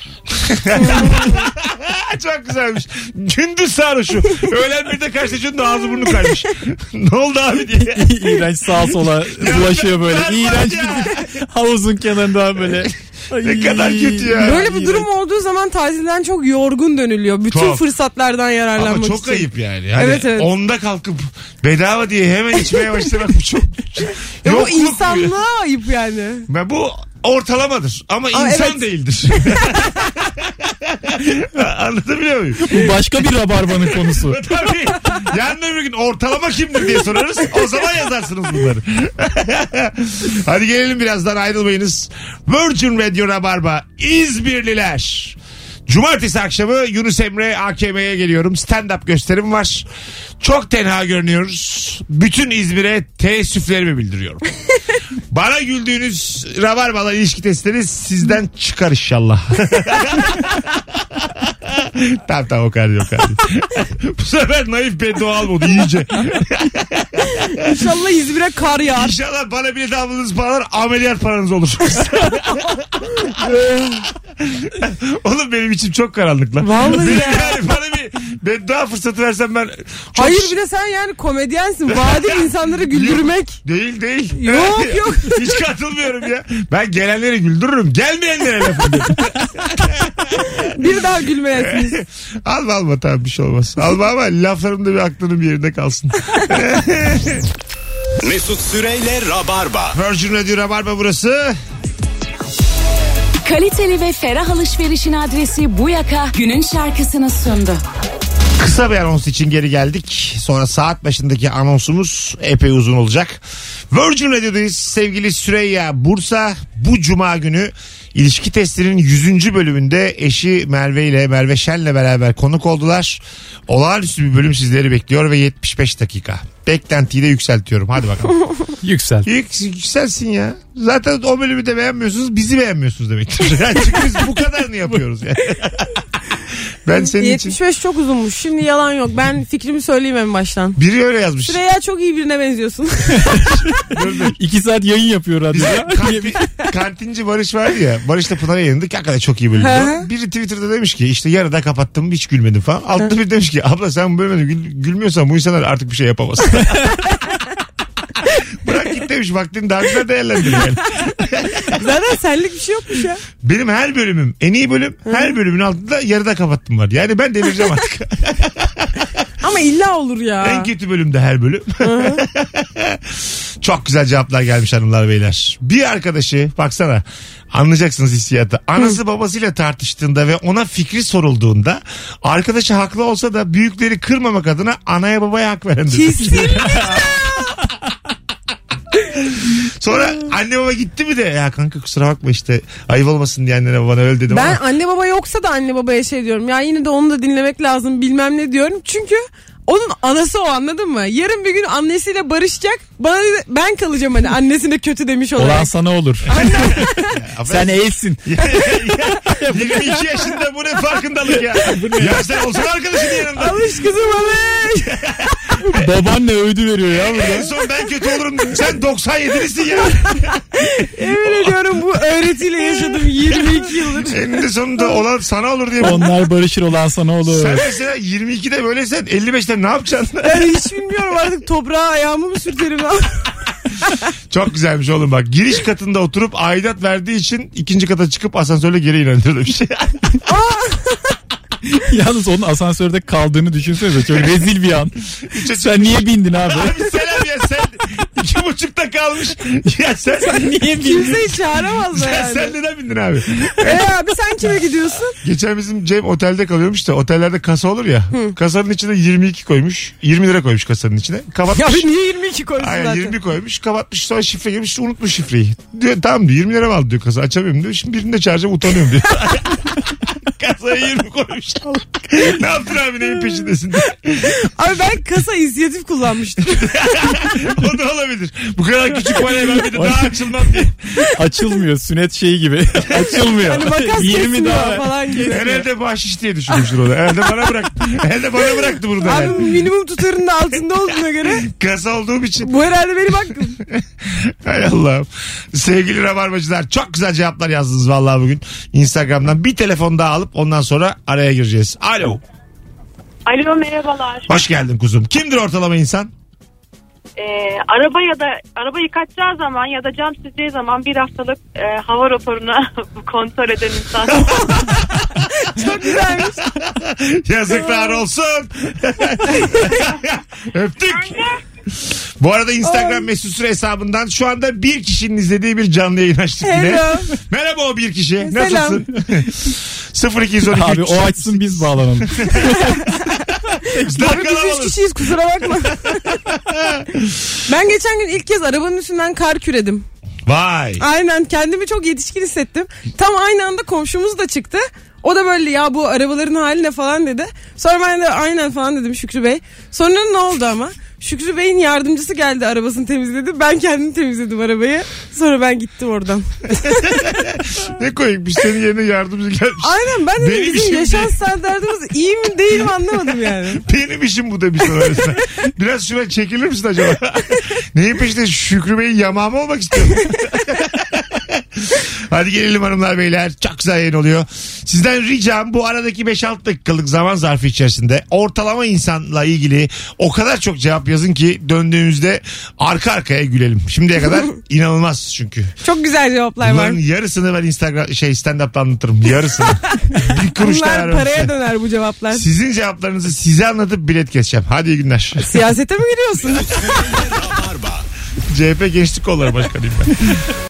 Ha, Çok güzelmiş. Gündüz sarhoşu. Öğlen bir de kaçta da ağzı burnu kaymış. [LAUGHS] ne oldu abi diye. iğrenç sağa sola bulaşıyor böyle. Ben- ben İğrenç var ya. bir havuzun kenarında böyle. Ne kadar kötü ya. Böyle bir durum olduğu zaman tatilden çok yorgun dönülüyor. Bütün Çok. fırsatlardan yararlanmak Ama çok için. ayıp yani. Hani Evet, evet. Onda kalkıp bedava diye hemen içmeye başlamak bu çok... Ya bu Yokluk bu ya. insanlığa ayıp yani. Ben bu ortalamadır ama Aa, insan evet. [LAUGHS] değildir. [LAUGHS] Anlatabiliyor muyum? Bu başka bir rabarbanın konusu. [LAUGHS] Tabii. Yarın öbür gün ortalama kimdir diye sorarız. O zaman yazarsınız bunları. [LAUGHS] Hadi gelelim birazdan ayrılmayınız. Virgin Radio Rabarba İzmirliler. Cumartesi akşamı Yunus Emre AKM'ye geliyorum. Stand-up gösterim var. Çok tenha görünüyoruz. Bütün İzmir'e teessüflerimi bildiriyorum. Bana güldüğünüz rabarbalar ilişki testleri sizden çıkar inşallah. [LAUGHS] tamam tamam o kadar değil, o kadar değil. Bu sefer naif beddua almadı [LAUGHS] iyice. İnşallah İzmir'e kar yağar. İnşallah bana bilet aldığınız paralar ameliyat paranız [LAUGHS] olur. Oğlum benim içim çok karanlık lan. Vallahi ya. Yani bana bir beddua fırsatı versen ben... Çok Hayır bir de sen yani komedyensin. Vadi insanları güldürmek. Değil değil. Yok, yok. [LAUGHS] Hiç katılmıyorum ya. Ben gelenleri güldürürüm. Gelmeyenlere laf ediyorum. Bir daha gülmeyesiniz. alma alma tamam bir şey olmaz. Alma ama laflarım da bir aklının bir yerinde kalsın. Mesut Süreyle Rabarba. Virgin Radio Rabarba burası. Kaliteli ve ferah alışverişin adresi Buyaka günün şarkısını sundu. Kısa bir anons için geri geldik. Sonra saat başındaki anonsumuz epey uzun olacak. Virgin Radio'dayız. Sevgili Süreyya Bursa bu cuma günü ilişki testinin 100. bölümünde eşi Merve ile Merve Şen'le beraber konuk oldular. Olağanüstü bir bölüm sizleri bekliyor ve 75 dakika. Beklentiyi de yükseltiyorum. Hadi bakalım. Yüksel. Yük, yükselsin ya. Zaten o bölümü de beğenmiyorsunuz. Bizi beğenmiyorsunuz demektir. [LAUGHS] Yani çünkü biz bu kadarını yapıyoruz. Yani. ben senin için... 75 çok uzunmuş. Şimdi yalan yok. Ben fikrimi söyleyeyim en baştan. Biri öyle yazmış. Süreyya çok iyi birine benziyorsun. İki saat yayın yapıyor Bize radyoda. kanti- kantinci Barış vardı ya. Barış da Pınar'a yayınladık. Hakikaten çok iyi bölüm. Hı hı. Biri Twitter'da demiş ki işte yarıda kapattım hiç gülmedim falan. Altta bir demiş ki abla sen bu bölümde gül- gülmüyorsan bu insanlar artık bir şey yapamaz. [LAUGHS] Bırak git demiş vaktini daha güzel değerlendir yani. [LAUGHS] Zaten senlik bir şey yokmuş ya. Benim her bölümüm en iyi bölüm her bölümün altında yarıda kapattım var. Yani ben delireceğim artık. Ama illa olur ya. En kötü bölümde her bölüm. [LAUGHS] Çok güzel cevaplar gelmiş hanımlar beyler. Bir arkadaşı baksana anlayacaksınız hissiyatı. Anası babasıyla tartıştığında ve ona fikri sorulduğunda arkadaşı haklı olsa da büyükleri kırmamak adına anaya babaya hak veren. dedi. Kesin. Sonra anne baba gitti mi de ya kanka kusura bakma işte ayıp olmasın diye annene babana öyle dedim [LAUGHS] Ben ama. [LAUGHS] anne baba yoksa da anne babaya şey diyorum. Ya yine de onu da dinlemek lazım bilmem ne diyorum. Çünkü Onun anası o anladın mı? Yarın bir gün annesiyle barışacak. Bana dedi, ben kalacağım hani annesine kötü demiş olarak. Olan sana [LAUGHS] olur. [LAUGHS] Sen eğilsin. 22 yaşında bu ne farkındalık [LAUGHS] ya. ya sen olsun arkadaşın yanında. Alış kızım alış. Babaanne öğüdü veriyor ya En burada. son ben kötü olurum. Sen 97'lisin ya. Emin ediyorum bu öğretiyle yaşadım 22 yıldır. Eninde sonunda olan sana olur diye. Onlar barışır olan sana olur. Sen mesela 22'de böyleysen 55'te ne yapacaksın? [LAUGHS] Ben hiç bilmiyorum artık toprağa ayağımı mı sürterim? Çok güzelmiş oğlum bak. Giriş katında oturup aidat verdiği için ikinci kata çıkıp asansörle geri inendirdi bir şey. Yalnız onun asansörde kaldığını düşünsene. [LAUGHS] Çok rezil bir an. Üçe Sen niye bindin [LAUGHS] abi? Abi selam ya sen iki buçukta kalmış. Ya sen, sen, niye bindin? Kimseyi çağıramaz da yani. sen neden bindin abi? E abi sen kime gidiyorsun? Geçen bizim Cem otelde kalıyormuş da otellerde kasa olur ya. Kasanın içine 22 koymuş. 20 lira koymuş kasanın içine. Ya Kapatmış. bir niye 22 koysun Aynen zaten? 20 koymuş kapatmış sonra şifre girmiş unutmuş şifreyi. Diyor tamam diyor 20 lira mı aldı diyor kasa açamıyorum diyor. Şimdi birini de çağıracağım utanıyorum diyor. [LAUGHS] Kasaya 20 [LAUGHS] koymuş. ne yaptın abi neyin peşindesin diye. Abi ben kasa inisiyatif kullanmıştım. O da olabilir. Bu kadar küçük paraya ben bir de daha açılmam diye. Açılmıyor. Sünnet şeyi gibi. [LAUGHS] Açılmıyor. Hani makas 20 kesmiyor daha. falan gibi. Herhalde bahşiş diye düşünmüştür o da. Herhalde bana bıraktı. Herhalde bana bıraktı bunu da. Abi yani. minimum tutarının altında olduğuna göre Kasa olduğum için. bu herhalde benim hakkım. Hay Allah'ım. Sevgili Rabarbacılar çok güzel cevaplar yazdınız vallahi bugün. Instagram'dan bir telefon daha alıp ondan sonra araya gireceğiz. Alo. Alo merhabalar. Hoş geldin kuzum. Kimdir ortalama [LAUGHS] insan? Ee, araba ya da araba yıkatacağı zaman ya da cam sileceği zaman bir haftalık e, hava raporuna [LAUGHS] kontrol eden insan. Çok güzelmiş. Yazıklar [LAUGHS] olsun. Öptük. Bu arada Instagram mesut süre hesabından şu anda bir kişinin izlediği bir canlı yayın açtık yine. Hello. Merhaba o bir kişi. Selam. [LAUGHS] Nasılsın? 0212 Abi o açsın biz bağlanalım. Daha Abi biz üç kalabalığız. kişiyiz kusura bakma. ben geçen gün ilk kez arabanın üstünden kar küredim. Vay. Aynen kendimi çok yetişkin hissettim. Tam aynı anda komşumuz da çıktı. O da böyle ya bu arabaların hali ne falan dedi. Sonra ben de aynen falan dedim Şükrü Bey. Sonra ne oldu ama? Şükrü Bey'in yardımcısı geldi arabasını temizledi. Ben kendim temizledim arabayı. Sonra ben gittim oradan. Ne koyukmuş senin yerine yardımcı gelmiş. Aynen ben de Benim bizim işim yaşam değil. standartımız iyi mi değil mi anlamadım yani. Benim işim bu demiş sana mesela. Biraz şuna çekilir misin acaba? [LAUGHS] Neyin peşinde Şükrü Bey'in yamağı mı olmak istiyorsun? [LAUGHS] Hadi gelelim hanımlar beyler. Çok güzel yayın oluyor. Sizden ricam bu aradaki 5-6 dakikalık zaman zarfı içerisinde ortalama insanla ilgili o kadar çok cevap yazın ki döndüğümüzde arka arkaya gülelim. Şimdiye [LAUGHS] kadar inanılmaz çünkü. [LAUGHS] Çok güzel cevaplar var. Bunların yarısını ben Instagram şey stand-up'ta anlatırım. [LAUGHS] Yarısını. Bir kuruş da Bunlar vermem size. paraya döner bu cevaplar. Sizin cevaplarınızı size anlatıp bilet keseceğim. Hadi iyi günler. Siyasete mi giriyorsun? Rabarba. CHP Gençlik Kolları Başkanıyım ben.